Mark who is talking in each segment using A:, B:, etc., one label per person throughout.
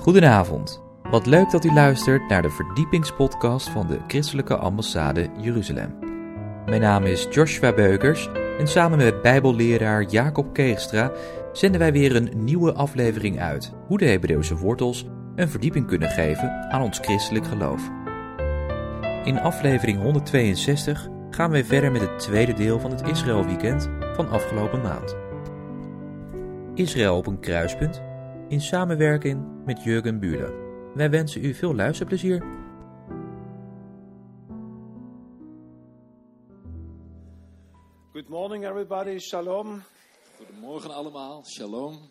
A: Goedenavond. Wat leuk dat u luistert naar de verdiepingspodcast van de Christelijke Ambassade Jeruzalem. Mijn naam is Joshua Beukers en samen met Bijbelleraar Jacob Keegstra zenden wij weer een nieuwe aflevering uit hoe de Hebreeuwse wortels een verdieping kunnen geven aan ons christelijk geloof. In aflevering 162 gaan wij verder met het tweede deel van het Israël Weekend van afgelopen maand. Israël op een kruispunt in samenwerking met Jurgen Buren. Wij wensen u veel luisterplezier.
B: Good morning, everybody. Shalom.
C: Goedemorgen allemaal, shalom.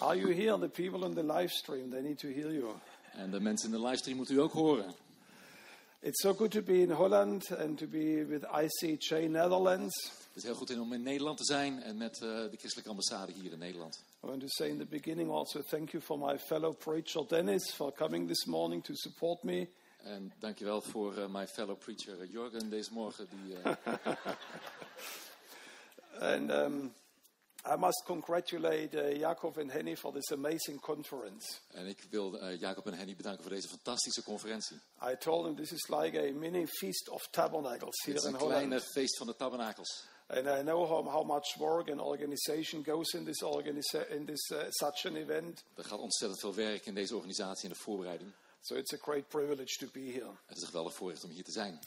B: Are you here? The people on the live stream, they need to hear you.
C: En de mensen in de livestream moeten u ook horen.
B: It's so good to be in Holland and to be with ICJ Netherlands.
C: Het is heel goed om in Nederland te zijn en met eh, de christelijke ambassade hier in Nederland.
B: I want to say in the beginning also thank you for my fellow preacher Dennis for coming this morning to support me.
C: En dankjewel voor eh, mijn fellow preacher eh, Jorgen deze morgen. Die, eh,
B: And um, I must congratulate uh, Jakob and Henny for this amazing conference.
C: en ik wil eh, Jacob en Henny bedanken voor deze fantastische conferentie.
B: I told them this is like a mini feast of tabernacles here
C: Het is
B: in
C: een
B: Holland.
C: kleine feest van de tabernakels.
B: And I know how, how much work and organization goes in this, organisa- in this uh, such an event.
C: Er gaat ontzettend veel werk in deze organisatie en de voorbereiding.
B: So it's a great privilege to be here.
C: Het is een geweldig voorrecht om hier te zijn.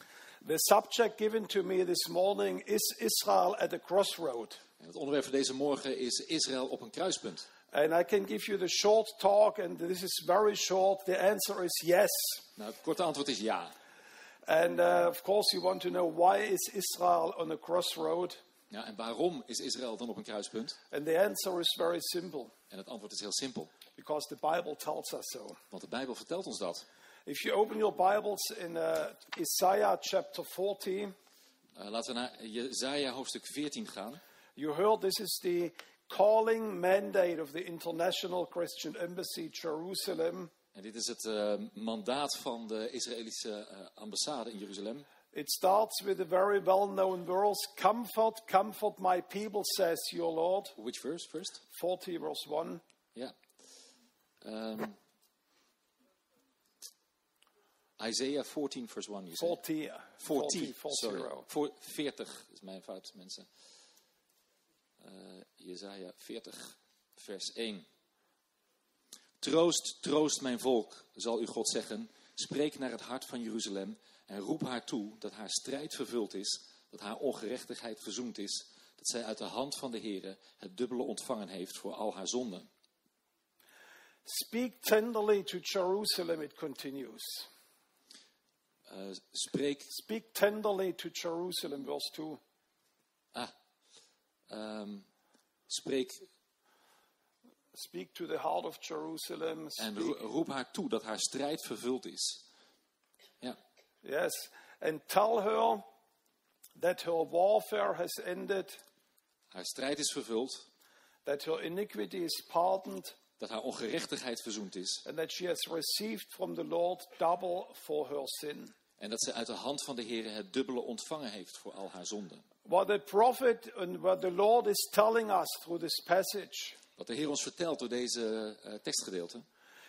B: The subject given to me this morning is Israel at a crossroad.
C: En het onderwerp van deze morgen is Israël op een kruispunt.
B: And I can give you the short talk, and this is very short. The answer is yes.
C: Nou, het korte antwoord is ja.
B: And uh, of course, you want to know why is Israel on a crossroad?
C: ja. En waarom is Israël dan op een kruispunt?
B: And the answer is very simple
C: En het antwoord is heel simpel.
B: because the Bible tells us so.
C: Want de Bijbel vertelt ons dat.
B: If you open your Bibles in uh, Isaiah chapter 40,
C: Eh, laten we naar Jezaja hoofdstuk 14 gaan.
B: you heard this is the calling mandate of the International Christian Embassy Jerusalem.
C: En dit is het eh, mandaat van de Israëlische eh, ambassade in Jeruzalem.
B: It starts with a very well known verse Comfort, comfort my people, says your Lord.
C: Which verse first?
B: 40 verse 1.
C: Ja. Ehm Isaiah 14 vers 1. you said.
B: 40.
C: 40,
B: 40,
C: sorry. Voor 40 is mijn fout, mensen. Eh Jezaja 40, vers 1. Troost, troost mijn volk, zal uw God zeggen. Spreek naar het hart van Jeruzalem en roep haar toe dat haar strijd vervuld is, dat haar ongerechtigheid verzoend is, dat zij uit de hand van de Here het dubbele ontvangen heeft voor al haar zonden.
B: Speak tenderly to Jerusalem, it continues.
C: Eh, spreek
B: Speak tenderly to Jerusalem, verse 2.
C: Ah. Ehm, spreek
B: Speak to the heart of Jerusalem.
C: en
B: Speak-
C: ro- roep haar toe dat haar strijd vervuld is. Ja.
B: Yes. And tell her that her warfare has ended,
C: Haar strijd is vervuld,
B: that her iniquity is pardoned,
C: dat haar ongerechtigheid verzoend is
B: and that she has received from the Lord double for her sin.
C: en dat zij uit de hand van de Here het dubbele ontvangen heeft voor al haar zonden.
B: What the prophet and what the Lord is telling us through this passage,
C: Wat de Heer ons vertelt door deze eh, tekstgedeelte.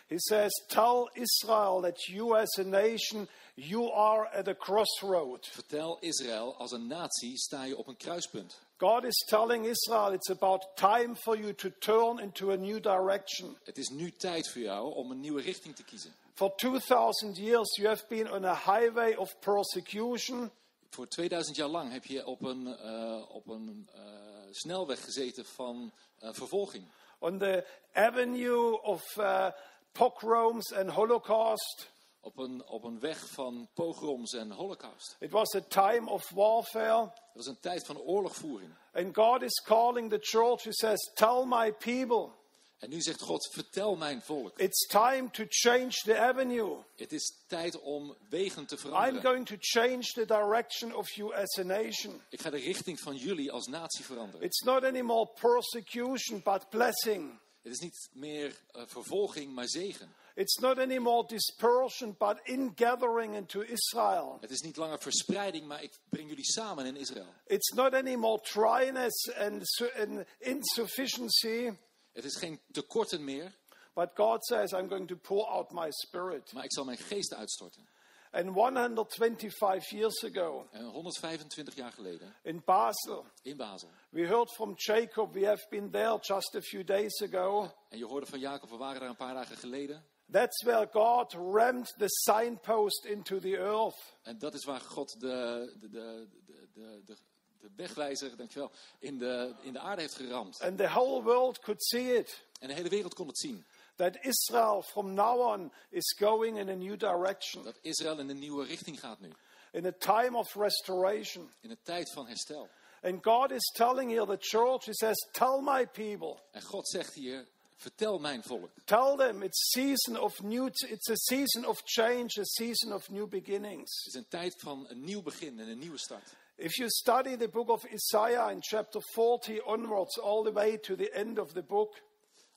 B: he says, Tell Israel that you as a nation, you are at a crossroad.
C: Vertel Israël, als een natie sta je op een kruispunt.
B: God is telling Israel it's about time for you to turn into a new direction.
C: Het is nu tijd voor jou om een nieuwe richting te kiezen.
B: For 2,000 years, you have been on a highway of persecution,
C: Voor 2000 jaar lang heb je op een, eh, op een eh, snelweg gezeten van eh, vervolging.
B: on the avenue of uh, pogroms and Holocaust.
C: op een, op een weg van pogroms en holocaust.
B: It was a time of warfare.
C: Dat is een tijd van oorlogvoering.
B: And God is calling the church. He says, Tell my people,
C: En nu zegt God, vertel mijn volk.
B: it's time to change the avenue.
C: Het is tijd om wegen te
B: I'm
C: veranderen.
B: going to change the direction of you as a nation.
C: Ik ga de richting van jullie als natie veranderen.
B: It's not anymore persecution, but blessing.
C: Het is niet meer eh, vervolging, maar zegen.
B: It's not anymore dispersion, but ingathering into Israel.
C: Het is niet langer verspreiding, maar ik breng jullie samen in Israël.
B: It's not anymore dryness and, su- and insufficiency,
C: Het is geen tekorten meer,
B: But God says, I'm going to pour out my spirit.
C: maar ik zal mijn geest uitstorten.
B: And 125 years ago
C: En 125 jaar geleden
B: in Basel,
C: in Basel.
B: we heard from Jacob, we have been there just a few days ago.
C: En je hoorde van Jacob, we waren daar een paar dagen geleden.
B: That's where God rammed the signpost into the earth.
C: En dat is waar God de, de, de, de, de, de, de wegwijzer, dankjewel, in de, in de aarde heeft geramd.
B: And the whole world could see it.
C: En de hele wereld kon het zien.
B: That Israel from now on is going in a new direction,
C: Dat Israël in een nieuwe richting gaat nu.
B: in a time of restoration.
C: In een tijd van herstel.
B: And God is telling here the church, He says, Tell my people,
C: En God zegt hier, vertel mijn volk.
B: tell them it's season of new it's a season of change, a season of new beginnings.
C: Het is een tijd van een nieuw begin en een nieuwe start.
B: If you study the book of Isaiah in chapter 40 onwards, all the way to the end of the book,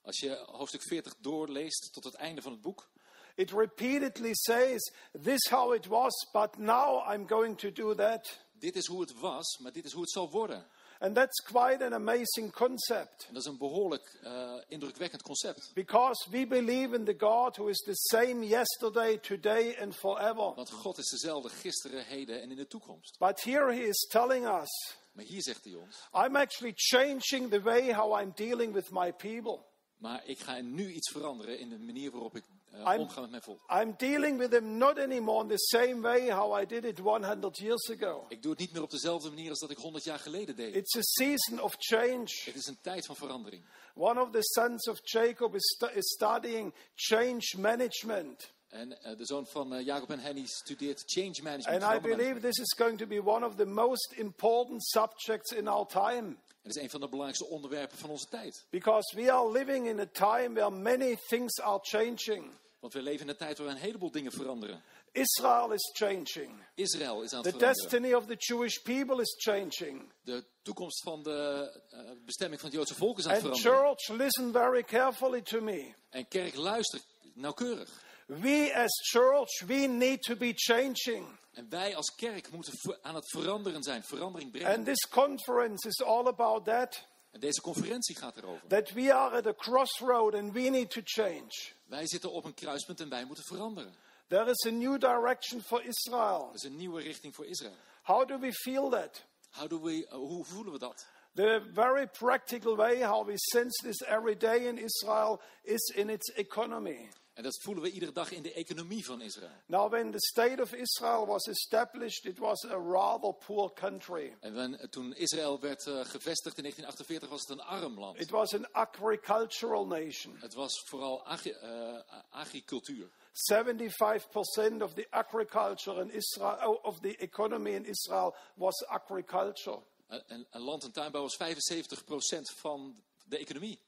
C: Als je hoofdstuk 40 doorleest tot het einde van het boek,
B: it repeatedly says, This how it was, but now I'm going to do that.
C: dit is hoe het was, maar dit is hoe het zal worden.
B: And that's quite an amazing concept
C: En dat is een behoorlijk eh, indrukwekkend concept.
B: because we believe in the God who is the same yesterday, today, and forever.
C: Want God is dezelfde gisteren, heden en in de toekomst.
B: But here he is telling us,
C: Maar hier zegt hij ons,
B: I'm actually changing the way how I'm dealing with my people.
C: maar ik ga nu iets veranderen in de manier waarop ik eh,
B: I'm-
C: omga met mijn volk.
B: I'm dealing with them not anymore in the same way how I did it 100 years ago.
C: Ik doe het niet meer op dezelfde manier als dat ik 100 jaar geleden deed.
B: It's a season of change.
C: Het is een tijd van verandering.
B: One of the sons of Jacob is, stu- is studying change management.
C: En eh, de zoon van eh, Jacob en Henny studeert change management.
B: And I
C: verandermanagement.
B: believe this is going to be one of the most important subjects in our time.
C: Het is een van de belangrijkste onderwerpen van onze tijd.
B: Because we are living in a time where many things are changing.
C: Want we leven in een tijd waar een heleboel dingen veranderen.
B: Israel is changing.
C: Israël is aan
B: The
C: het veranderen.
B: destiny of the Jewish people is changing.
C: De toekomst van de eh, bestemming van het Joodse volk is aan het
B: And
C: veranderen.
B: church, listen very carefully to me.
C: En kerk luistert nauwkeurig.
B: We as church, we need to be changing.
C: En wij als kerk moeten ver- aan het veranderen zijn, verandering brengen.
B: And this conference is all about that.
C: En deze conferentie gaat erover.
B: That we are at a crossroad and we need to change.
C: Wij zitten op een kruispunt en wij moeten veranderen.
B: There is a new direction for Israel.
C: Dat is een nieuwe richting voor Israël.
B: How do we feel that?
C: How do we, eh, hoe voelen we dat?
B: The very practical way how we sense this every day in Israel is in its economy.
C: En dat voelen we iedere dag in de economie van Israël.
B: Now, when the state of Israel was established, it was a rather poor country.
C: En wen- toen Israël werd eh, gevestigd in 1948 was het een arm land.
B: It was an agricultural nation.
C: Het was vooral agri- eh, agricultuur.
B: 75% of the agriculture in Israel, oh, of the economy in Israel was agriculture.
C: Eh, en, en land- en tuinbouw was 75% van de economie.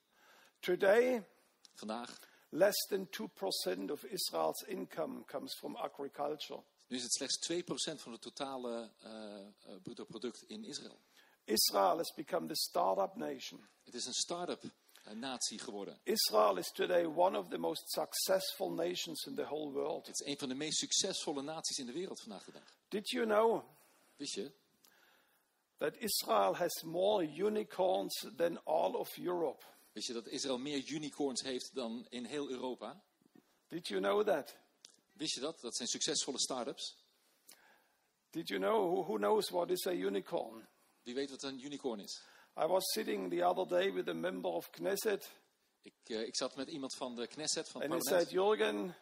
B: Today,
C: Vandaag
B: less than 2% of Israel's income comes from agriculture.
C: nu is het slechts 2% van het totale eh, eh, bruto product in Israël.
B: Israel has become the startup nation.
C: Het is een start-up eh, natie geworden.
B: Israel is today one of the most successful nations in the whole world.
C: Het is een van de meest succesvolle naties in de wereld vandaag de dag.
B: Did you know
C: Wist je?
B: that Israel has more unicorns than all of Europe?
C: Wist je dat Israël meer unicorns heeft dan in heel Europa?
B: Did you know that?
C: Wist je dat? Dat zijn succesvolle start-ups.
B: Did you know who, who knows what is a unicorn?
C: Wie weet wat een unicorn is?
B: I was sitting the other day with a member of Knesset,
C: Ik, eh, ik zat met iemand van de Knesset, van het
B: and he
C: parlement.
B: said, Jürgen,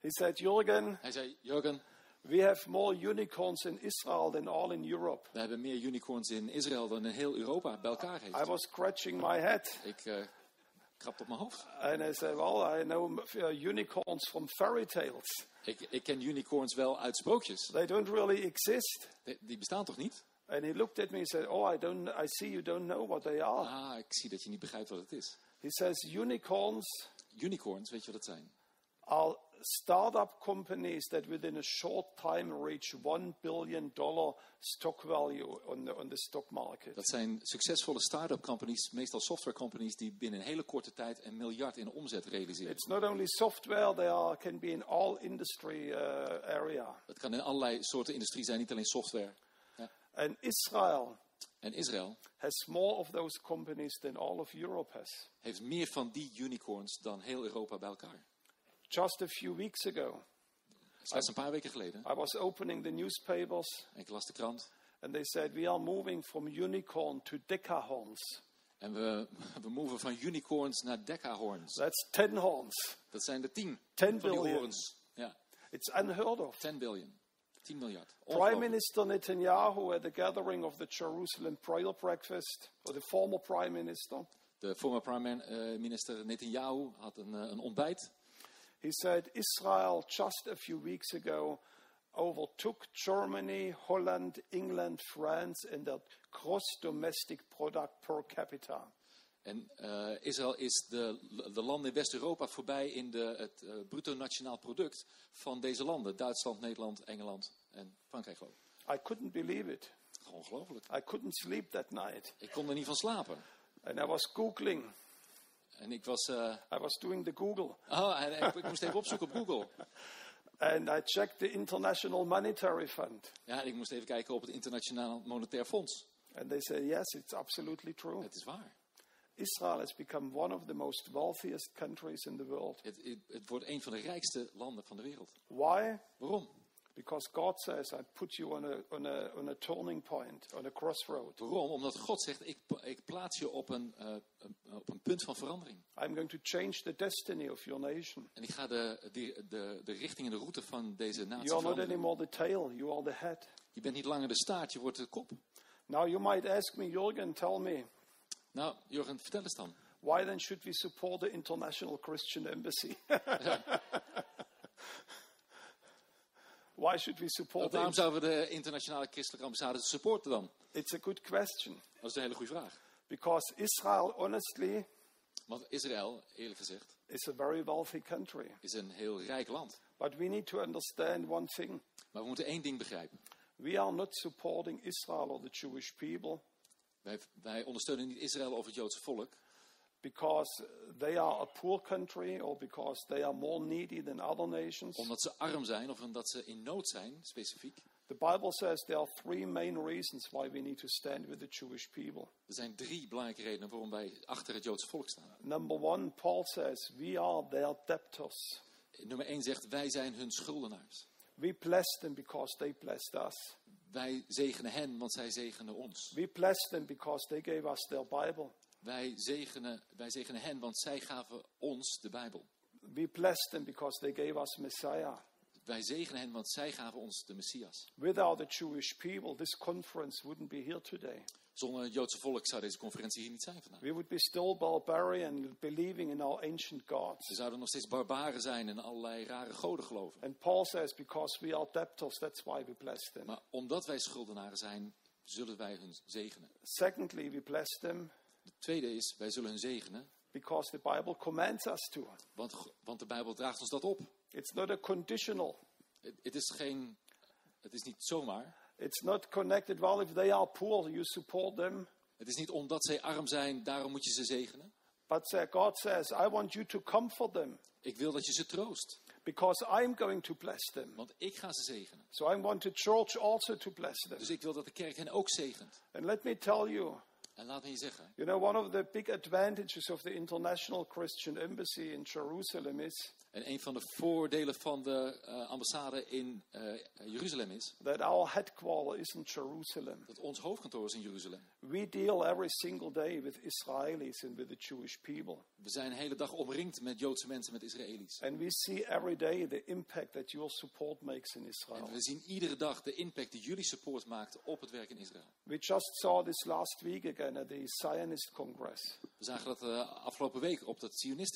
B: he said, Jürgen,
C: Hij zei, Jurgen,
B: we have more unicorns in Israel than all in Europe.
C: we hebben meer unicorns in Israël dan in heel Europa bij elkaar heeft.
B: I was scratching my head,
C: Ik eh krabde op mijn hoofd.
B: and I said, well, I know uh, unicorns from fairy tales.
C: Ik, ik ken unicorns wel uit sprookjes.
B: They don't really exist.
C: Die- Die bestaan toch niet?
B: And he looked at me and said, oh, I, don't, I see you don't know what they are.
C: Ah, ik zie dat je niet begrijpt wat het is.
B: He says, unicorns
C: Unicorns, weet je wat dat zijn?
B: are startup companies that within a short time reach $1 billion stock value on the, on the stock market.
C: Dat zijn succesvolle start-up companies, meestal software companies, die binnen een hele korte tijd een miljard in omzet realiseren.
B: It's not only software, they are, can be in all industry uh, area.
C: Dat kan in allerlei soorten industrie zijn, niet alleen software.
B: And Israel
C: En Israël
B: has more of those companies than all of Europe has.
C: heeft meer van die unicorns dan heel Europa bij elkaar.
B: Just a few weeks ago,
C: Slechts een paar weken geleden.
B: I was opening the newspapers
C: En ik las de krant.
B: and they said, We are moving from unicorn to decahorns.
C: En we, we moven van unicorns naar decahorns.
B: That's 10 horns.
C: Dat zijn er tien.
B: 10
C: van die
B: billion.
C: horens. Ja,
B: It's unheard of.
C: 10 biljoen. 10 miljard.
B: Prime
C: Ongelooflijk.
B: Minister Netanyahu at the gathering of the Jerusalem prayer breakfast, or the former prime minister,
C: De former prime eh, minister Netanyahu had een, eh, een ontbijt.
B: he said Israel just a few weeks ago overtook Germany, Holland, England, France in their gross domestic product per capita.
C: En eh, Israël is de, de landen in West-Europa voorbij in de, het eh, bruto nationaal product van deze landen. Duitsland, Nederland, Engeland en Frankrijk geloof ik.
B: I couldn't believe it.
C: Gewoon Ongelooflijk.
B: I couldn't sleep that night.
C: Ik kon er niet van slapen.
B: And I was Googling.
C: En ik was... eh,
B: I was doing the Google.
C: oh, en ik, ik moest even opzoeken op Google.
B: And I checked the International Monetary Fund.
C: Ja, en ik moest even kijken op het Internationaal Monetair Fonds.
B: And they say, yes, it's absolutely true.
C: Het is waar.
B: Israel has become one of the most wealthiest countries in the world.
C: Het, het, het wordt een van de rijkste landen van de wereld.
B: Why?
C: Waarom?
B: Because God says, I put you on a, on a, on a turning point, on a crossroad.
C: Waarom? Omdat God zegt, ik, pla- ik plaats je op een, eh, een- op een punt van verandering.
B: I'm going to change the destiny of your nation.
C: En ik ga de, de, de, de richting en de route van deze natie
B: You are not
C: veranderen.
B: anymore the tail, you are the head.
C: Je bent niet langer de staart, je wordt de kop.
B: Now you might ask me, Jürgen, tell me,
C: Nou, Jorgen, vertel eens dan.
B: why then should we support the International Christian Embassy? why should we support
C: Waarom
B: it?
C: zouden we de internationale christelijke ambassade supporten dan?
B: It's a good question.
C: Dat is een hele goede vraag.
B: Because Israel, honestly,
C: Want Israël, eerlijk gezegd,
B: is a very wealthy country.
C: is een heel rijk land.
B: But we need to understand one thing.
C: Maar we moeten één ding begrijpen.
B: We are not supporting Israel or the Jewish people
C: Wij, wij ondersteunen niet Israël of het Joodse volk.
B: because they are a poor country or because they are more needy than other nations.
C: Omdat ze arm zijn of omdat ze in nood zijn, specifiek.
B: The Bible says there are three main reasons why we need to stand with the Jewish people.
C: Er zijn drie belangrijke redenen waarom wij achter het Joodse volk staan.
B: Number one, Paul says we are their debtors.
C: Nummer één zegt, wij zijn hun schuldenaars.
B: We bless them because they blessed us.
C: Wij zegenen hen, want zij zegenen ons.
B: We bless them because they gave us their Bible.
C: Wij zegenen, wij zegenen hen, want zij gaven ons de Bijbel.
B: We bless them because they gave us Messiah.
C: Wij zegenen hen, want zij gaven ons de Messias.
B: Without the Jewish people, this conference wouldn't be here today.
C: Zonder het Joodse volk zou deze conferentie hier niet zijn vandaag.
B: We would be still barbarian, believing in our ancient gods.
C: Ze zouden nog steeds barbaren zijn en allerlei rare goden geloven.
B: And Paul says, because we are debtors, that's why we bless them.
C: Maar omdat wij schuldenaren zijn, zullen wij hun zegenen.
B: Secondly, we bless them
C: Het tweede is, wij zullen hun zegenen,
B: because the Bible commands us to.
C: want, g- want de Bijbel draagt ons dat op.
B: It's not a conditional.
C: Het, het is geen, het is niet zomaar.
B: It's not connected. Well, if they are poor, you support them.
C: Het is niet omdat zij arm zijn, daarom moet je ze zegenen.
B: But uh, God says, I want you to comfort them
C: Ik wil dat je ze troost,
B: because I'm going to bless them.
C: want ik ga ze zegenen.
B: So I want the church also to bless them.
C: Dus ik wil dat de kerk hen ook zegent.
B: And let me tell you,
C: En laat me je zeggen,
B: You know, one of the big advantages of the International Christian Embassy in Jerusalem is
C: en een van de voordelen van de eh, ambassade in eh, Jeruzalem is
B: that our headquarter isn't Jerusalem.
C: dat ons hoofdkantoor is in Jeruzalem.
B: We deal every single day with Israelis and with the Jewish people.
C: We zijn de hele dag omringd met Joodse mensen, met Israëli's.
B: And we see every day the impact that your support makes in Israel.
C: En we zien iedere dag de impact die jullie support maakt op het werk in Israël.
B: We just saw this last week again at the Zionist Congress.
C: We zagen dat eh, afgelopen week op dat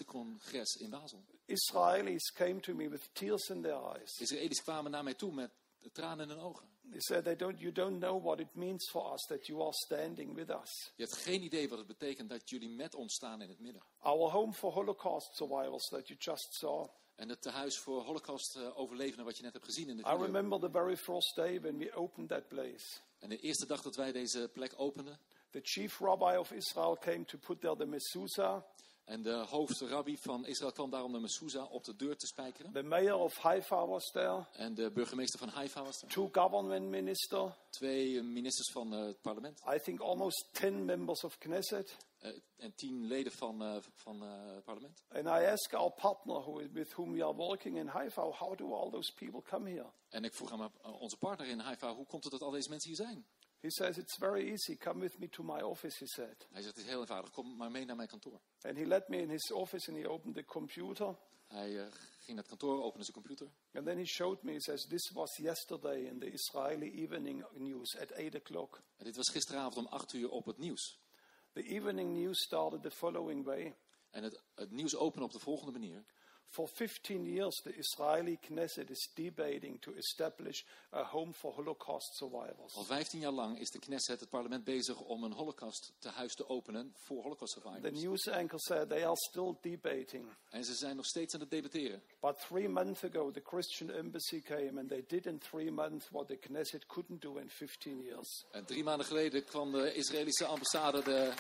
C: Zionistencongres in Basel.
B: Israelis came to me with tears in their eyes.
C: Israëli's kwamen naar mij toe met tranen in hun ogen.
B: They said, they don't, You don't know what it means for us that you are standing with us.
C: Je hebt geen idee wat het betekent dat jullie met ons staan in het midden.
B: Our home for Holocaust survivors that you just saw.
C: En het tehuis voor holocaust eh, overlevenden wat je net hebt gezien in de
B: I
C: video.
B: remember the very first day when we opened that place.
C: En de eerste dag dat wij deze plek openden,
B: The chief rabbi of Israel came to put there the mezuzah,
C: En de hoofdrabbi van Israël kwam daarom naar Mesouza op de deur te spijkeren.
B: The mayor of Haifa was there,
C: En de burgemeester van Haifa was er.
B: two government ministers,
C: Twee eh, ministers van eh, het parlement.
B: I think almost 10 members of Knesset.
C: eh, en tien leden van, eh, van eh, het parlement.
B: And I asked our partner who, with whom we are working in Haifa, how do all those people come here?
C: En ik vroeg aan mijn- eh, onze partner in Haifa, hoe komt het dat al deze mensen hier zijn?
B: He says, It's very easy. Come with me to my office, he said.
C: Hij zegt, het is heel eenvoudig, kom maar mee naar mijn kantoor.
B: And he led me in his office and he opened the computer.
C: Hij eh, ging naar het kantoor, opende zijn computer.
B: And then he showed me, he says, This was yesterday in the Israeli evening news at 8 o'clock.
C: En dit was gisteravond om acht uur op het nieuws.
B: The evening news started the following way.
C: En het, het nieuws opende op de volgende manier.
B: For 15 years, the Israeli Knesset is debating to establish a home for Holocaust survivors.
C: Al 15 jaar lang is de Knesset, het parlement, bezig om een holocausttehuis te openen voor holocaust
B: The
C: survivors.
B: news anchor said they are still debating.
C: En ze zijn nog steeds aan het debatteren.
B: But three months ago, the Christian embassy came and they did in three months what the Knesset couldn't do in 15 years.
C: En drie maanden geleden kwam de Israëlische ambassade, de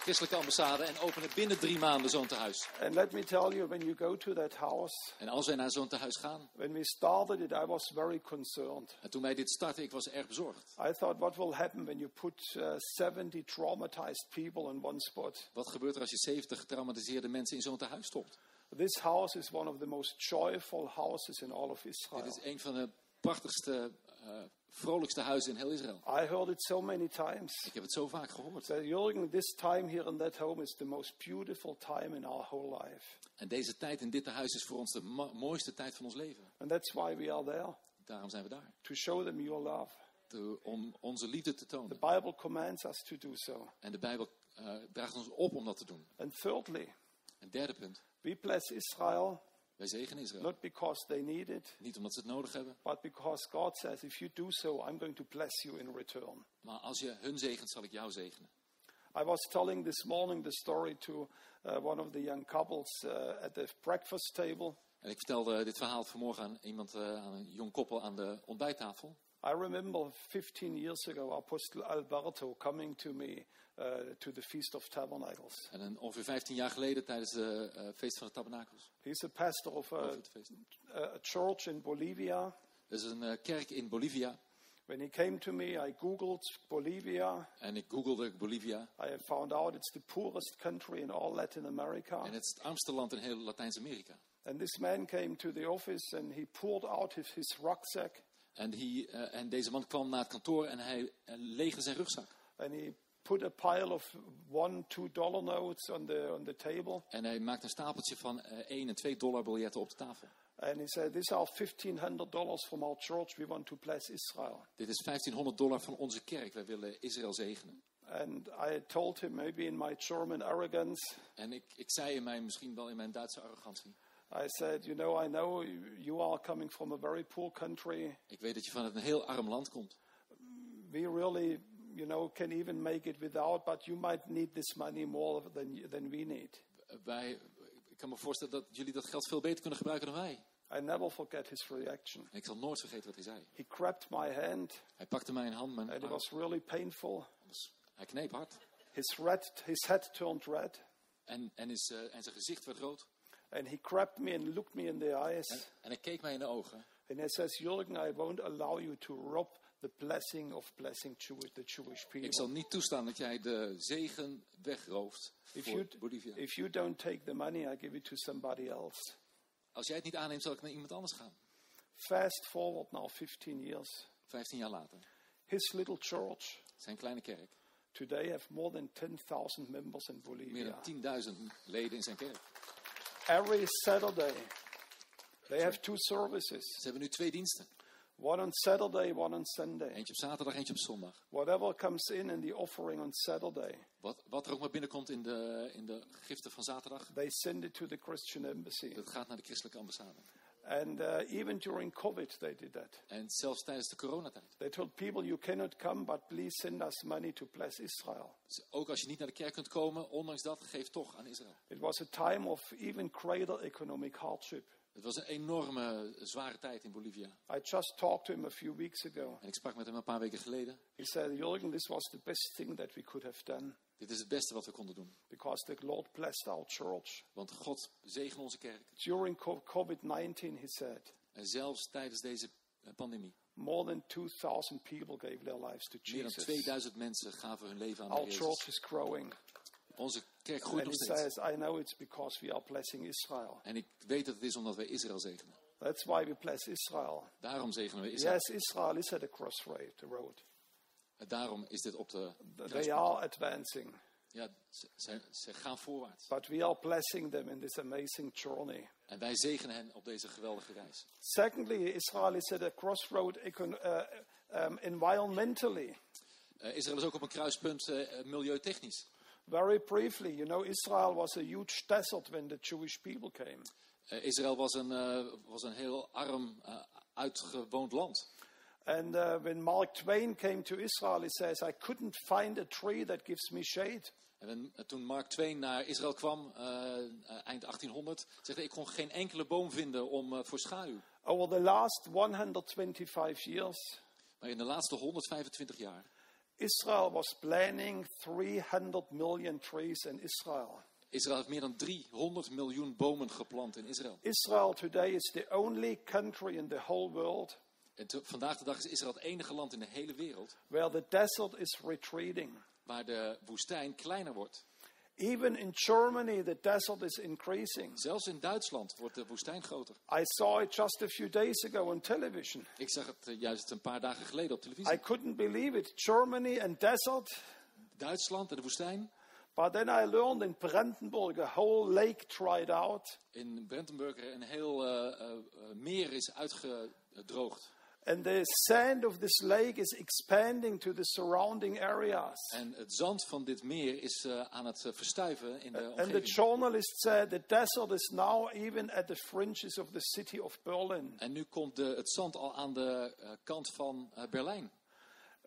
C: christelijke ambassade, en opende binnen drie maanden zo'n tehuis.
B: And let me tell you, when you go to that house,
C: En als wij naar zo'n tehuis gaan,
B: when we started it, I was very concerned.
C: en toen wij dit startten, ik was erg bezorgd.
B: I thought, what will happen when you put uh, 70 traumatized people in one spot?
C: Wat gebeurt er als je 70 getraumatiseerde mensen in zo'n tehuis stopt?
B: This house is one of the most joyful houses in all of
C: Dit
B: Israel.
C: is een van de prachtigste, eh, vrolijkste huizen in heel Israël.
B: I heard it so many times.
C: Ik heb het zo vaak gehoord.
B: That Jürgen, this time here in that home is the most beautiful time in our whole life.
C: En deze tijd in dit tehuis is voor ons de ma- mooiste tijd van ons leven.
B: And that's why we are there,
C: Daarom zijn we daar.
B: to show them your love.
C: Te- om onze liefde te
B: The
C: tonen.
B: Bible commands us to do so.
C: En de Bijbel eh, draagt ons op om dat te doen.
B: And thirdly,
C: En derde punt.
B: we bless Israel
C: Wij zegenen Israël.
B: not because they need it,
C: Niet omdat ze het nodig hebben,
B: but because God says, if you do so, I'm going to bless you in return.
C: maar als je hun zegent, zal ik jou zegenen.
B: I was telling this morning the story to uh, one of the young couples uh, at the breakfast table.
C: En ik vertelde dit verhaal vanmorgen aan iemand, eh, aan een jong koppel aan de ontbijttafel.
B: I remember 15 years ago, Apostle Alberto coming to me uh, to the Feast of Tabernacles.
C: En een, ongeveer 15 jaar geleden, tijdens het feest van de tabernakels.
B: He's a pastor of
C: Over
B: a,
C: het feest.
B: a church in Bolivia.
C: Er is een eh, kerk in Bolivia.
B: When he came to me, I Googled Bolivia.
C: En ik googelde Bolivia.
B: I have found out it's the poorest country in all Latin America.
C: En het is het armste land in heel Latijns-Amerika.
B: And this man came to the office and he poured out his, his rucksack
C: En, die, eh, en deze man kwam naar het kantoor en hij eh, leegde zijn rugzak.
B: and he put a pile of one, two dollar notes on the, on the table.
C: En hij maakte een stapeltje van eh 1 en 2 dollar biljetten op de tafel.
B: And he said, These are $1,500 from our church. We want to bless Israel.
C: Dit is 1500 dollar van onze kerk. Wij willen Israël zegenen.
B: And I told him, maybe in my German arrogance,
C: En ik, ik zei in mijn, misschien wel in mijn Duitse arrogantie.
B: I said, You know, I know you are coming from a very poor country.
C: Ik weet dat je van een heel arm land komt.
B: we really, you know, can even make it without, but you might need this money more than, than we need.
C: Eh, Wij, ik kan me voorstellen dat jullie dat geld veel beter kunnen gebruiken dan wij.
B: I never forget his reaction.
C: En ik zal nooit vergeten wat hij zei.
B: He grabbed my hand,
C: Hij pakte mij in hand, mijn
B: and it
C: arm.
B: was really painful.
C: Hij kneep hard.
B: His, red, his head turned red,
C: En, en, is, eh, en zijn gezicht werd rood.
B: and he grabbed me and looked me in the eyes.
C: En, en hij keek mij in de ogen.
B: And he says, Jürgen, I won't allow you to rob the blessing of blessing Jew- the Jewish
C: Ik
B: people.
C: zal niet toestaan dat jij de zegen wegrooft
B: If
C: voor
B: you,
C: Bolivia.
B: if you don't take the money, I give it to somebody else.
C: Als jij het niet aanneemt, zal ik naar iemand anders gaan.
B: Fast forward now 15 years.
C: 15 jaar later.
B: His little church
C: Zijn kleine kerk.
B: today have more than 10,000 members in
C: Meer
B: Bolivia.
C: dan 10.000 leden in zijn kerk.
B: Every Saturday, they have two services
C: Ze hebben nu twee diensten.
B: one on Saturday, one on Sunday.
C: Eentje op zaterdag, eentje op zondag.
B: Whatever comes in in the offering on Saturday,
C: Wat, wat er ook maar binnenkomt in de, in de giften van zaterdag,
B: they send it to the Christian embassy.
C: dat gaat naar de christelijke ambassade.
B: And uh, even during COVID, they did that.
C: En zelfs tijdens de coronatijd.
B: They told people, you cannot come, but please send us money to bless Israel.
C: Dus ook als je niet naar de kerk kunt komen, ondanks dat, geef toch aan Israël.
B: It was a time of even greater economic hardship.
C: Het Het was een enorme, eh, zware tijd in Bolivia.
B: I just talked to him a few weeks ago.
C: En ik sprak met hem een paar weken geleden.
B: He said, Jürgen, this was the best thing that we could have done
C: Dit is het beste wat we konden doen.
B: because the Lord blessed our church.
C: Want God zegen onze kerk.
B: During co- COVID 19, he said,
C: En zelfs tijdens deze eh, pandemie.
B: more than 2,000 people gave their lives to
C: Meer dan
B: Jesus.
C: 2000 mensen gaven hun leven aan de
B: Our
C: Jezus.
B: church is growing.
C: Onze kerk groeit
B: And
C: nog
B: he
C: steeds.
B: says, I know it's because we are blessing Israel.
C: En ik weet dat het is omdat wij Israël zegenen.
B: That's why we bless Israel.
C: Daarom zegenen we Israël.
B: Yes, Israel is at a crossroad, the road.
C: En daarom is dit op de...
B: They are advancing,
C: Ja, ze, ze- ze gaan voorwaarts.
B: but we are blessing them in this amazing journey.
C: En wij zegenen hen op deze geweldige reis.
B: Secondly, Israel is at a crossroad econ- uh, um, environmentally.
C: Eh, Israël is ook op een kruispunt eh, eh, milieutechnisch.
B: Very briefly, you know, Israel was a huge desert when the Jewish people came.
C: Eh, Israël was een, eh, was een heel arm, eh, uitgewoond land.
B: And uh, when Mark Twain came to Israel, he says, I couldn't find a tree that gives me shade.
C: En when- eh, toen Mark Twain naar Israël kwam, eh, eh, eind 1800, zegt hij, ik kon geen enkele boom vinden om, eh, voor schaduw.
B: Over the last 125 years,
C: Maar in de laatste 125 jaar
B: Israel was planting 300 million trees in Israel.
C: Israël heeft meer dan 300 miljoen bomen geplant in Israël.
B: Israel today is the only country in the whole world
C: En te- vandaag de dag is Israël het enige land in de hele wereld
B: where the desert is retreating.
C: waar de woestijn kleiner wordt.
B: Even in Germany, the desert is increasing.
C: Zelfs in Duitsland wordt de woestijn groter.
B: I saw it just a few days ago on television.
C: Ik zag het eh, juist een paar dagen geleden op televisie.
B: I couldn't believe it. Germany and desert.
C: Duitsland en de woestijn.
B: But then I learned in Brandenburg, a whole lake dried out.
C: In Brandenburg een heel eh, eh, eh, meer is uitgedroogd.
B: And the sand of this lake is expanding to the surrounding areas.
C: En het zand van dit meer is eh, aan het eh, verstuiven in de
B: And the
C: omgeving.
B: journalist said the desert is now even at the fringes of the city of Berlin.
C: en nu komt de, het zand al aan de eh, kant van eh, Berlijn.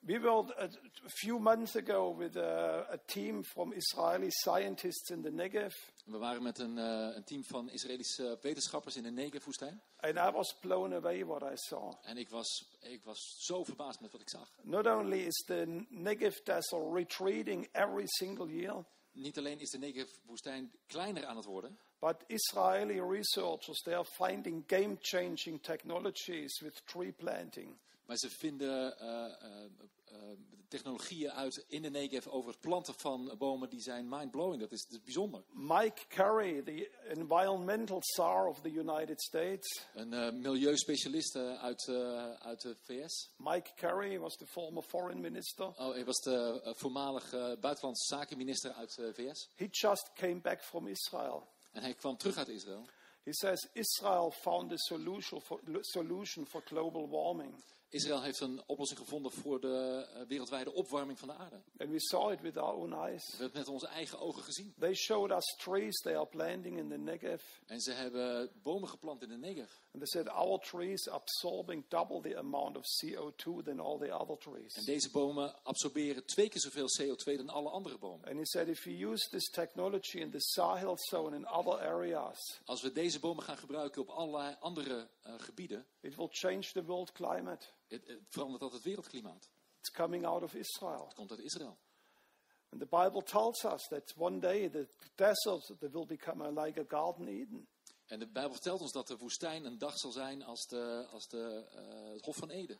B: We were a a few months ago with uh, a, a team from Israeli scientists in the Negev,
C: We waren met een, eh, een team van Israëlische wetenschappers in de Negev-woestijn.
B: and I was blown away what I saw.
C: En ik was, ik was zo verbaasd met wat ik zag.
B: Not only is the Negev desert retreating every single year,
C: Niet alleen is de Negev-woestijn kleiner aan het worden...
B: but Israeli researchers they are finding game-changing technologies with tree planting.
C: Maar ze vinden eh, eh, eh, technologieën uit in de Negev over het planten van bomen die zijn mindblowing. Dat is, dat is bijzonder.
B: Mike Curry, the environmental czar of the United States,
C: Een eh, milieuspecialist eh, uit, eh, uit de VS.
B: Mike Curry was the former foreign minister.
C: Oh, hij was de eh, voormalig eh, buitenlandse zakenminister uit de VS.
B: He just came back from Israel.
C: En hij kwam terug uit Israël.
B: He says Israel found a solution for, solution for global warming.
C: Israël heeft een oplossing gevonden voor de eh, wereldwijde opwarming van de aarde.
B: And we saw it with our own eyes.
C: We hebben het met onze eigen ogen gezien.
B: They showed us trees they are planting in the Negev.
C: En ze hebben bomen geplant in de Negev.
B: And they said our trees are absorbing double the amount of CO2 than all the other trees.
C: En deze bomen absorberen twee keer zoveel CO2 dan alle andere bomen.
B: And he said if we use this technology in the Sahel zone and other areas,
C: Als we deze bomen gaan gebruiken op allerlei andere eh, gebieden,
B: it will change the world climate.
C: het, het verandert dat het wereldklimaat.
B: It's coming out of Israel.
C: Het komt uit Israël.
B: And the Bible tells us that one day the desert they will become a- like a garden Eden.
C: En de Bijbel vertelt ons dat de woestijn een dag zal zijn als, de, als de, eh, het Hof van Eden.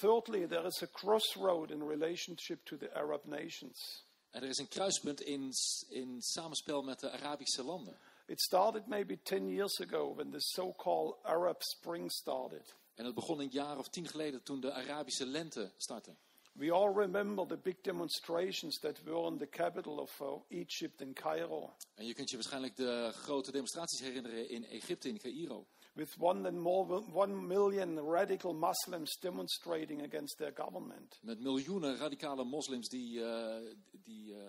B: Thirdly, there is a crossroad in relationship to the Arab nations.
C: En er is een kruispunt in, s- in samenspel met de Arabische landen.
B: It started maybe 10 years ago when the so called Arab Spring started.
C: En dat begon een jaar of tien geleden toen de Arabische lente startte.
B: We all remember the big demonstrations that were in the capital of uh, Egypt in Cairo,
C: En je kunt je waarschijnlijk de grote demonstraties herinneren in Egypte, in Cairo.
B: with one and more one million radical Muslims demonstrating against their government.
C: Met miljoenen radicale moslims die, eh, die eh,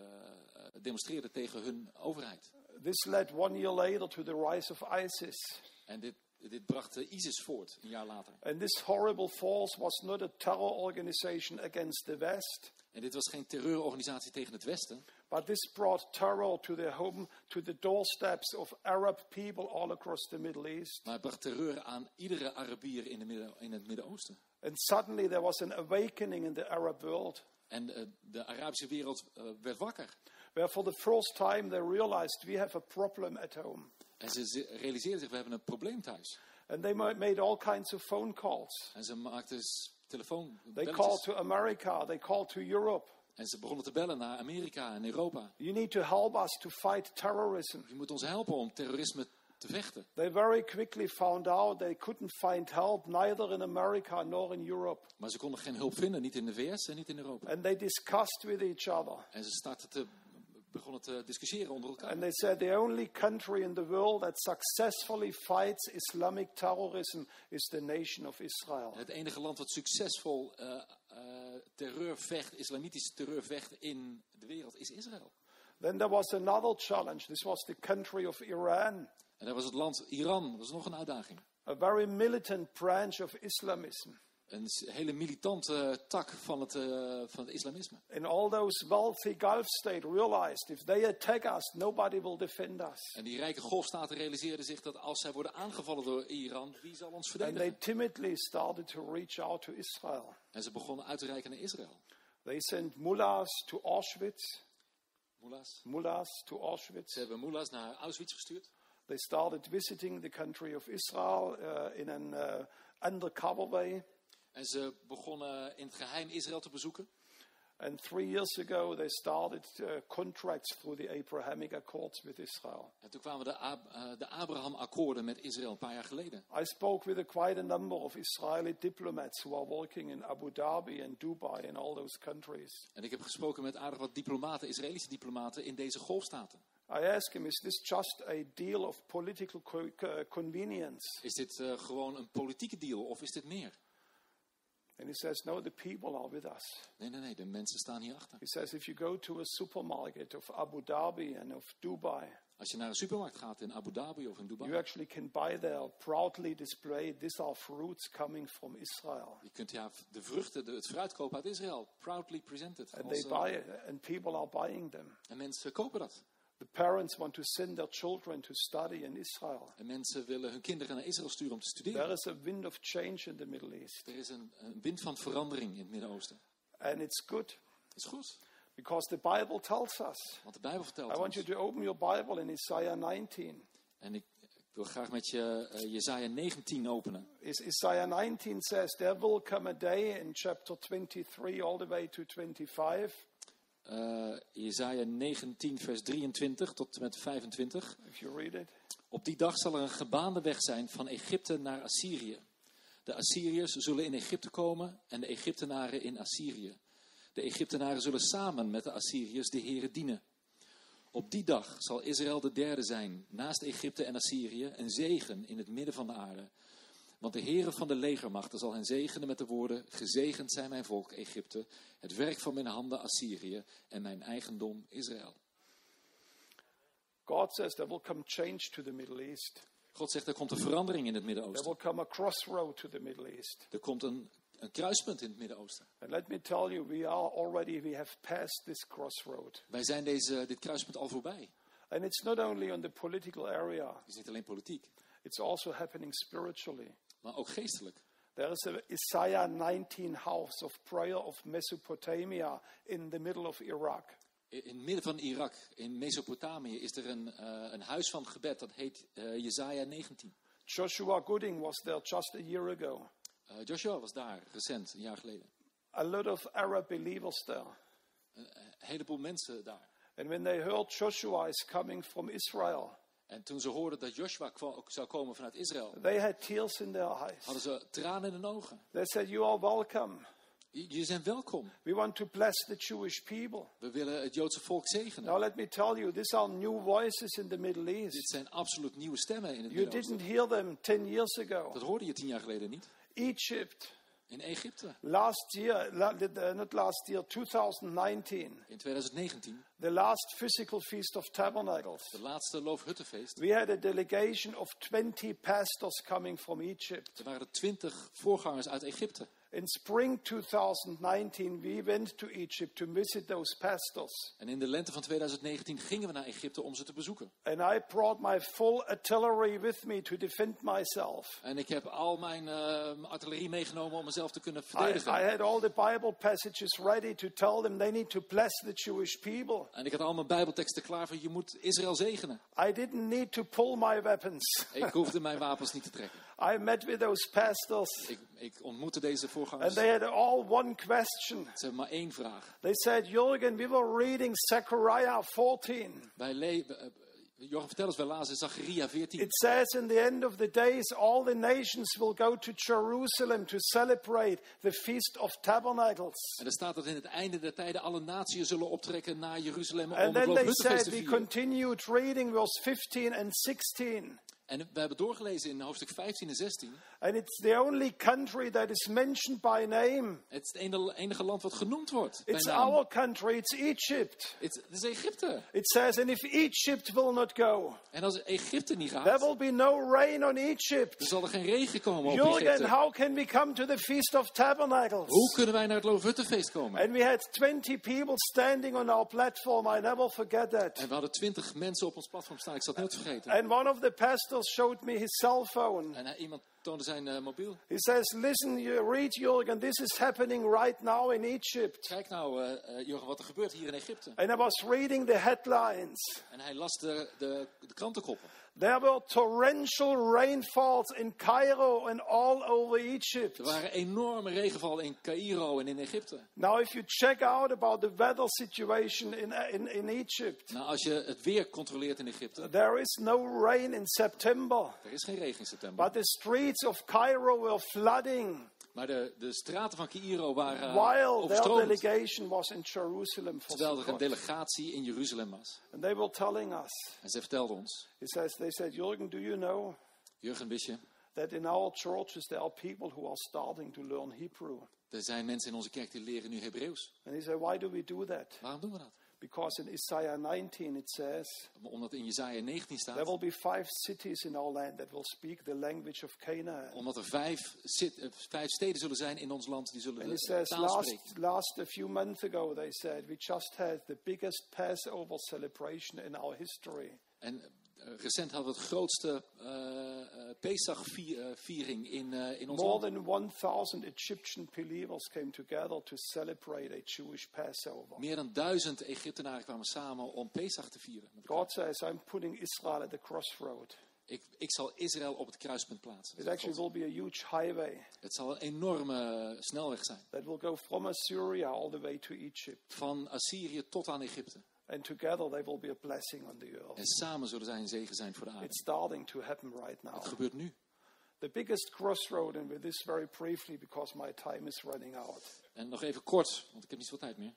C: demonstreerden tegen hun overheid.
B: This led one year later to the rise of ISIS.
C: En dit, dit bracht eh, ISIS voort, een jaar later.
B: And this horrible force was not a terror organization against the West,
C: En dit was geen terreurorganisatie tegen het Westen,
B: But this brought terror to their home, to the doorsteps of Arab people all across the Middle East.
C: Maar het bracht terreur aan iedere Arabier in, de midden, in het Midden-Oosten.
B: And suddenly there was an awakening in the Arab world,
C: En eh, de Arabische wereld eh, werd wakker.
B: where for the first time they realized we have a problem at home.
C: En ze ze realiseerden zich, we hebben een probleem thuis.
B: And they ma- made all kinds of phone calls.
C: En ze maakten s- telefoon.
B: They
C: belletjes.
B: called to America, they called to Europe.
C: En ze begonnen te bellen naar Amerika en Europa.
B: You need to help us to fight terrorism.
C: Je moet ons helpen om terrorisme te vechten.
B: They very quickly found out they couldn't find help neither in America nor in Europe.
C: Maar ze konden geen hulp vinden, niet in de VS en niet in Europa.
B: And they discussed with each other.
C: En ze startten te, begonnen te discussiëren onder elkaar.
B: And they said the only country in the world that successfully fights Islamic terrorism is the nation of Israel.
C: Het enige land wat succesvol eh eh, terreur vecht, islamitische terreur vecht in de wereld, is Israël.
B: Then there was another challenge. This was the country of Iran,
C: En daar was het land Iran, dat was nog een uitdaging.
B: a very militant branch of Islamism.
C: Een s- hele militante eh, tak van het, eh, van het islamisme.
B: And all those wealthy Gulf states realized if they attack us, nobody will defend us.
C: En die rijke golfstaten realiseerden zich dat als zij worden aangevallen door Iran, wie zal ons
B: And they
C: verdedigen?
B: timidly started to reach out to Israel.
C: En ze begonnen uit te reiken naar Israël.
B: They sent mullahs to Auschwitz,
C: Moelas.
B: mullahs to
C: Ze
B: Auschwitz.
C: hebben Moelas naar Auschwitz gestuurd.
B: They started visiting the country of Israel uh, in an uh, undercover way.
C: En ze begonnen in het geheim Israël te bezoeken.
B: And three years ago, they started uh, contracts through the Abrahamic Accords with Israel.
C: En toen kwamen de, Ab- eh, de Abraham-akkoorden met Israël een paar jaar geleden.
B: I spoke with a, quite a number of Israeli diplomats who are working in Abu Dhabi and Dubai and all those countries.
C: En ik heb gesproken met aardig wat diplomaten, Israëlische diplomaten in deze golfstaten.
B: I asked him, is this just a deal of political co- co- convenience?
C: Is dit eh, gewoon een politieke deal of is dit meer?
B: And he says, no, the people are with us.
C: Nee, nee, nee, de mensen staan hierachter.
B: He says, if you go to a supermarket of Abu Dhabi and of Dubai,
C: Als je naar een supermarkt gaat in Abu Dhabi of in
B: you
C: Dubai,
B: actually can buy there proudly displayed, these are fruits coming from Israel.
C: je kunt ja, de vruchten, de, het fruit kopen uit Israël. Proudly presented.
B: And
C: Als,
B: they
C: eh,
B: buy it, and people are buying them.
C: en mensen kopen dat.
B: The parents want to send their children to study in Israel.
C: En mensen willen hun kinderen naar Israël sturen om te studeren.
B: There is a wind of change in the Middle East,
C: Er is een, een wind van verandering in het Midden-Oosten.
B: and it's good
C: Dat is goed,
B: because the Bible tells us.
C: want de Bijbel vertelt
B: I want
C: ons.
B: you to open your Bible in Isaiah 19.
C: En ik, ik wil graag met je eh, Jezaja 19 openen.
B: Is- Isaiah 19 says, There will come a day in chapter 23 all the way to 25.
C: Eh Jezaja 19, vers 23 tot en met 25.
B: If you read it,
C: Op die dag zal er een gebaande weg zijn van Egypte naar Assyrië. De Assyriërs zullen in Egypte komen en de Egyptenaren in Assyrië. De Egyptenaren zullen samen met de Assyriërs de heren dienen. Op die dag zal Israël de derde zijn, naast Egypte en Assyrië, een zegen in het midden van de aarde. Want de heren van de legermachten zal hen zegenen met de woorden: Gezegend zijn mijn volk Egypte, het werk van mijn handen Assyrië en mijn eigendom Israël.
B: God says there will come change to the Middle East.
C: God zegt: er komt een verandering in het Midden-Oosten.
B: There will come a crossroad to the Middle East.
C: Er komt een, een kruispunt in het Midden-Oosten.
B: And let me tell you, we are already, we have passed this crossroad.
C: Wij zijn deze, dit kruispunt al voorbij.
B: And it's not only on the political area,
C: Het is niet alleen politiek,
B: it's also happening spiritually.
C: maar ook geestelijk.
B: There is a Isaiah 19 house of prayer of Mesopotamia in the middle of Iraq.
C: In in het midden van Irak, in Mesopotamië, is er een, eh, een huis van gebed. Dat heet eh Jezaja 19.
B: Joshua Gooding was there just a year ago.
C: Eh, Joshua was daar recent, een jaar geleden.
B: A lot of Arab believers there.
C: Een, eh, heleboel mensen daar.
B: And when they heard Joshua is coming from Israel,
C: En toen ze hoorden dat Joshua kwa- ook zou komen vanuit Israël,
B: they had tears in their eyes.
C: hadden ze tranen in hun ogen.
B: They said, You are welcome.
C: J- Jullie zijn welkom.
B: We want to bless the Jewish people.
C: We willen het Joodse volk zegenen.
B: Now, let me tell you, these are new voices in the Middle
C: Dit
B: East.
C: zijn absoluut nieuwe stemmen in het
B: You
C: Midden-Oosten.
B: didn't hear them 10 years
C: Dat
B: ago.
C: hoorde je tien jaar geleden niet.
B: Egypt,
C: In Egypte,
B: last year, la- uh, not last year, 2019,
C: in 2019,
B: the last physical Feast of Tabernacles.
C: Het laatste Loofhuttenfeest.
B: We had a delegation of 20 pastors coming from Egypt.
C: Er waren er twintig voorgangers uit Egypte.
B: In spring 2019, we went to Egypt to visit those pastors.
C: En in de lente van 2019 gingen we naar Egypte om ze te bezoeken.
B: And I brought my full artillery with me to defend myself.
C: En ik heb al mijn eh, artillerie meegenomen om mezelf te kunnen
B: I,
C: verdedigen.
B: I had all the Bible passages ready to tell them they need to bless the Jewish people.
C: En ik had al mijn bijbelteksten klaar voor je moet Israël zegenen.
B: I didn't need to pull my weapons.
C: Ik hoefde mijn wapens niet te trekken.
B: I met with those pastors,
C: Ik, ik ontmoette deze
B: and
C: voorgangers.
B: they had all one question.
C: Ze hebben maar één vraag.
B: They said, Jürgen, we were reading Zechariah 14.
C: Wij le- eh, eh, Joram, vertel eens, wij lazen in Zachariah 14.
B: It says, In the end of the days, all the nations will go to Jerusalem to celebrate the Feast of Tabernacles.
C: En er staat dat in het einde der tijden alle naties zullen optrekken naar Jeruzalem om
B: And
C: het
B: then they
C: Loofhuttenfeest
B: said,
C: te
B: we
C: vieren.
B: continued reading verse 15 and 16.
C: En we hebben doorgelezen in hoofdstuk 15 en 16.
B: And it's the only country that is mentioned by name.
C: Het is het ene- enige land wat genoemd wordt. bij
B: It's
C: naam.
B: our country, it's Egypt.
C: Het het is Egypte.
B: It says, and if Egypt will not go,
C: En als Egypte niet
B: there
C: gaat,
B: will be no rain on
C: dan
B: Egypt.
C: zal er geen regen komen op
B: Jürgen,
C: Egypte.
B: how can we come to the Feast of Tabernacles?
C: Hoe kunnen wij naar het Loofhuttenfeest komen?
B: And we had 20 people standing on our platform. I never forget that.
C: En we hadden twintig mensen op ons platform staan. Ik zat net vergeten.
B: And one of the pastors showed me his cell phone.
C: En hij- iemand toonde zijn eh, mobiel.
B: He says, listen, you read, Jürgen, this is happening right now in Egypt.
C: Kijk nou, eh eh, Jurgen, wat er gebeurt hier in Egypte.
B: And I was reading the headlines.
C: En hij las de, de, de krantenkoppen.
B: There were torrential rainfalls in Cairo and all over Egypt.
C: Er waren enorme regenvallen in Cairo en in Egypte.
B: Now, if you check out about the weather situation in, in, in Egypt,
C: Nou, als je het weer controleert in Egypte,
B: there is no rain in September,
C: er is geen regen in september.
B: but the streets of Cairo were flooding
C: Maar de, de straten van Cairo waren eh,
B: while their
C: overstroomd.
B: delegation was in Jerusalem for
C: Terwijl er een
B: Sukkot.
C: delegatie in Jeruzalem was.
B: And they were telling us,
C: En ze vertelde ons,
B: he says, they said, Jürgen, do you know
C: Jurgen, wist je,
B: that in our churches there are people who are starting to learn Hebrew?
C: er zijn mensen in onze kerk die leren nu Hebreeuws.
B: And he said, why do we do that?
C: Waarom doen we dat?
B: Because in Isaiah 19 it says,
C: Omdat in Jezaja 19
B: There
C: staat,
B: will be five cities in our land that will speak the language of Canaan.
C: omdat er vijf, zit- eh, vijf steden zullen zijn in ons land die zullen eh,
B: And it
C: de
B: says,
C: taal
B: last,
C: spreken.
B: last a few months ago, they said, we just had the biggest Passover celebration in our history.
C: En eh, recent hadden we het grootste eh Pesach-viering in, eh, in ons
B: More
C: land.
B: than 1,000 Egyptian believers came together to celebrate a Jewish Passover.
C: Meer dan duizend Egyptenaren kwamen samen om Pesach te vieren. met elkaar.
B: God says, I'm putting Israel at the crossroad.
C: Ik, ik zal Israël op het kruispunt plaatsen.
B: It
C: zegt
B: actually
C: God.
B: will be a huge highway
C: Het zal een enorme eh, snelweg zijn.
B: that will go from Assyria all the way to Egypt.
C: Van Assyrië tot aan Egypte.
B: And together they will be a blessing on the earth.
C: En samen zullen zij een zegen zijn voor de aarde.
B: It's starting to happen right now.
C: Het gebeurt nu.
B: The biggest crossroad, and with this very briefly because my time is running out,
C: En nog even kort, want ik heb niet zoveel tijd meer.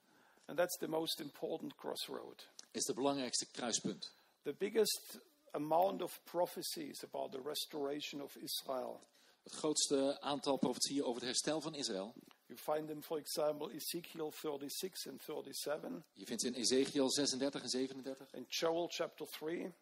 B: and that's the most important crossroad.
C: Is de belangrijkste kruispunt.
B: The biggest amount of prophecies about the restoration of Israel.
C: Het grootste aantal profetieën over het herstel van Israël.
B: You find them, for example, Ezekiel 36 and 37,
C: Je vindt ze in Ezekiel 36 en 37.
B: and Joel chapter 3,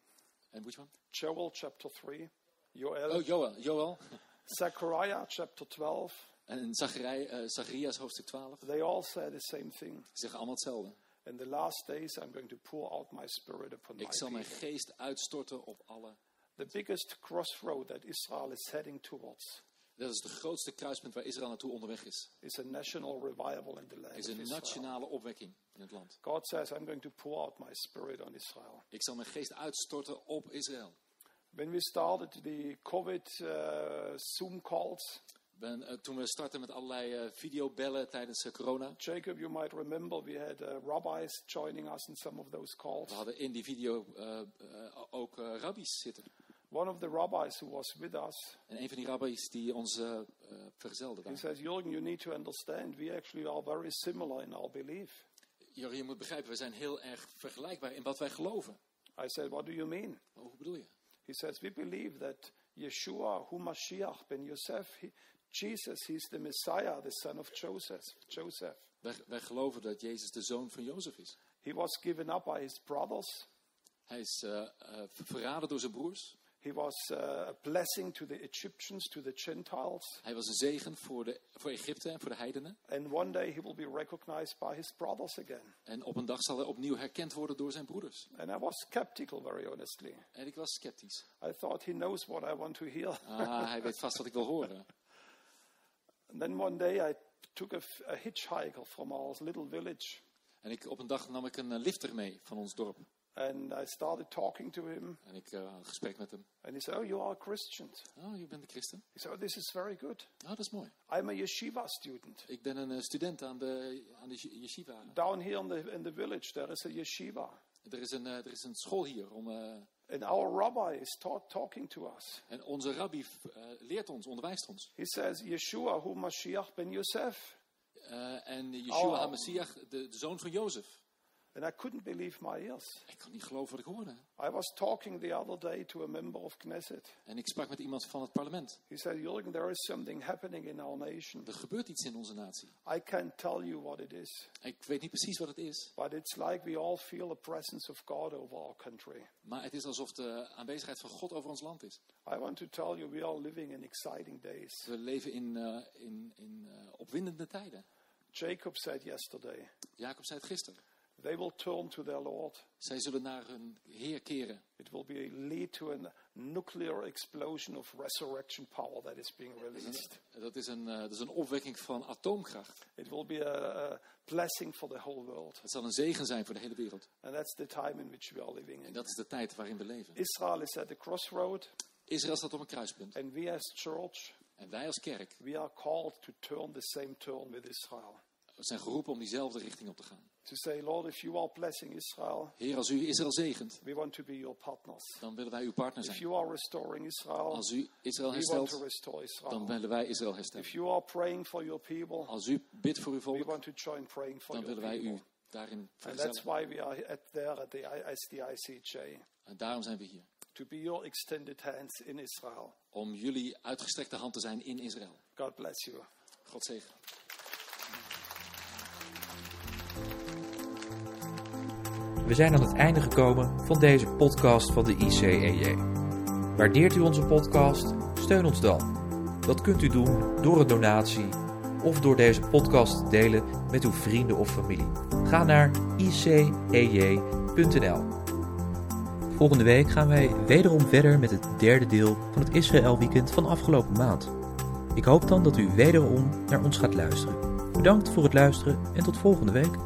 C: En which one?
B: Joel chapter 3, Joel,
C: Oh, Joel. Joel.
B: Zechariah chapter 12.
C: En Zachariah, eh, Zacharias hoofdstuk 12. Ze
B: They all say the same thing.
C: zeggen allemaal hetzelfde.
B: In the last days, I'm going to pour out my spirit upon my
C: Ik zal
B: people.
C: mijn geest uitstorten op alle.
B: The biggest crossroad that Israel is heading towards.
C: Dat is de grootste kruispunt waar Israël naartoe onderweg is.
B: is a national revival in the land.
C: is
B: of
C: een
B: Israel.
C: nationale opwekking in het land.
B: God says, I'm going to pour out my spirit on Israel.
C: Ik zal mijn geest uitstorten op Israël.
B: When we started the COVID uh, Zoom calls,
C: Ben, eh, toen we startten met allerlei eh, videobellen tijdens eh, corona.
B: Jacob, you might remember, we had uh, rabbis joining us in some of those calls.
C: We hadden in die video eh, eh, ook eh, rabbies zitten.
B: One of the rabbis who was with us,
C: En een van die rabbies die ons eh, eh, vergezelde
B: he
C: daar.
B: says, Jürgen, you need to understand, we actually are very similar in our belief.
C: Jorrie, je moet begrijpen, we zijn heel erg vergelijkbaar in wat wij geloven.
B: I said, what do you mean?
C: Maar Oh, hoe bedoel je?
B: He says, we believe that Yeshua, Humashiach ben Yosef, he, Jesus, he's the Messiah, the son of Joseph. Joseph.
C: Wij, wij geloven dat Jezus de zoon van Jozef is.
B: He was given up by his brothers.
C: Hij is eh, eh, verraden door zijn broers.
B: He was uh, a blessing to the Egyptians, to the Gentiles.
C: Hij was een zegen voor, de, voor Egypte en voor de heidenen.
B: And one day he will be recognized by his brothers again.
C: En op een dag zal hij opnieuw herkend worden door zijn broeders.
B: And I was skeptical, very honestly.
C: En ik was sceptisch.
B: I thought he knows what I want to hear.
C: Ah, hij weet vast wat ik wil horen.
B: And then one day I took a, f- a hitchhiker from our little village
C: En ik, op een dag nam ik een eh, lifter mee van ons dorp.
B: and I started talking to him.
C: En ik eh, had een gesprek met hem.
B: And he said, Oh, you are a Christian.
C: Oh, je bent een christen?
B: He said, Oh, this is very good.
C: Oh, dat is mooi.
B: I'm a yeshiva student.
C: Ik ben een eh, student aan de, aan de ye- yeshiva.
B: Down here in the, in the village, there is a yeshiva.
C: Er is een, eh, er is een school hier. Om, eh,
B: And our rabbi is ta- talking to us.
C: en onze rabbi eh, leert ons, onderwijst ons.
B: He says, Yeshua hu Mashiach ben Yosef.
C: Eh, en Yeshua
B: Oh.
C: HaMessiah, de, de zoon van Jozef.
B: And I couldn't believe my ears.
C: Ik kan niet geloven wat ik hoorde.
B: I was talking the other day to a member of Knesset.
C: En ik sprak met iemand van het parlement.
B: He said, Jürgen, there is something happening in our nation.
C: Er gebeurt iets in onze natie.
B: I can't tell you what it is,
C: Ik weet niet precies wat het is.
B: but it's like we all feel the presence of God over our country.
C: Maar het is alsof de aanwezigheid van God over ons land is.
B: I want to tell you, we are living in exciting days.
C: We leven in, eh, in, in eh, opwindende tijden.
B: Jacob said yesterday,
C: Jacob zei het gisteren.
B: they will turn to their Lord.
C: Zij zullen naar hun Heer keren.
B: It will be lead to a nuclear explosion of resurrection power that is being released.
C: Dat is een, eh, dat is een opwekking van atoomkracht.
B: It will be a, a blessing for the whole world.
C: Het zal een zegen zijn voor de hele wereld.
B: And that's the time in which we are living
C: En
B: in.
C: dat is de tijd waarin we leven.
B: Israel is at the crossroad,
C: Israël staat op een kruispunt.
B: and we as church,
C: En wij als kerk
B: we are called to turn the same turn with Israel.
C: zijn geroepen om diezelfde richting op te gaan.
B: To say, Lord, if you are blessing Israel,
C: Heer, als u Israël zegent,
B: we want to be your partners.
C: dan willen wij uw partner
B: If
C: zijn.
B: you are restoring Israel,
C: Als u Israël
B: we want to
C: herstelt,
B: restore
C: dan
B: Israel.
C: willen wij Israël herstellen.
B: If you are praying for your people,
C: Als u bidt voor uw
B: we
C: volk,
B: want to join praying for
C: dan
B: your
C: willen wij
B: people.
C: u daarin
B: And that's
C: vergezellen.
B: why we are at there at the I- SDICJ
C: En daarom zijn we hier.
B: to be your extended hands in Israel.
C: Om jullie uitgestrekte hand te zijn in Israël.
B: God bless you.
C: God zegen.
A: We zijn aan het einde gekomen van deze podcast van de ICEJ. Waardeert u onze podcast? Steun ons dan. Dat kunt u doen door een donatie of door deze podcast te delen met uw vrienden of familie. Ga naar E icej.nl. Volgende week gaan wij wederom verder met het derde deel van het Israël Weekend van afgelopen maand. Ik hoop dan dat u wederom naar ons gaat luisteren. Bedankt voor het luisteren en tot volgende week.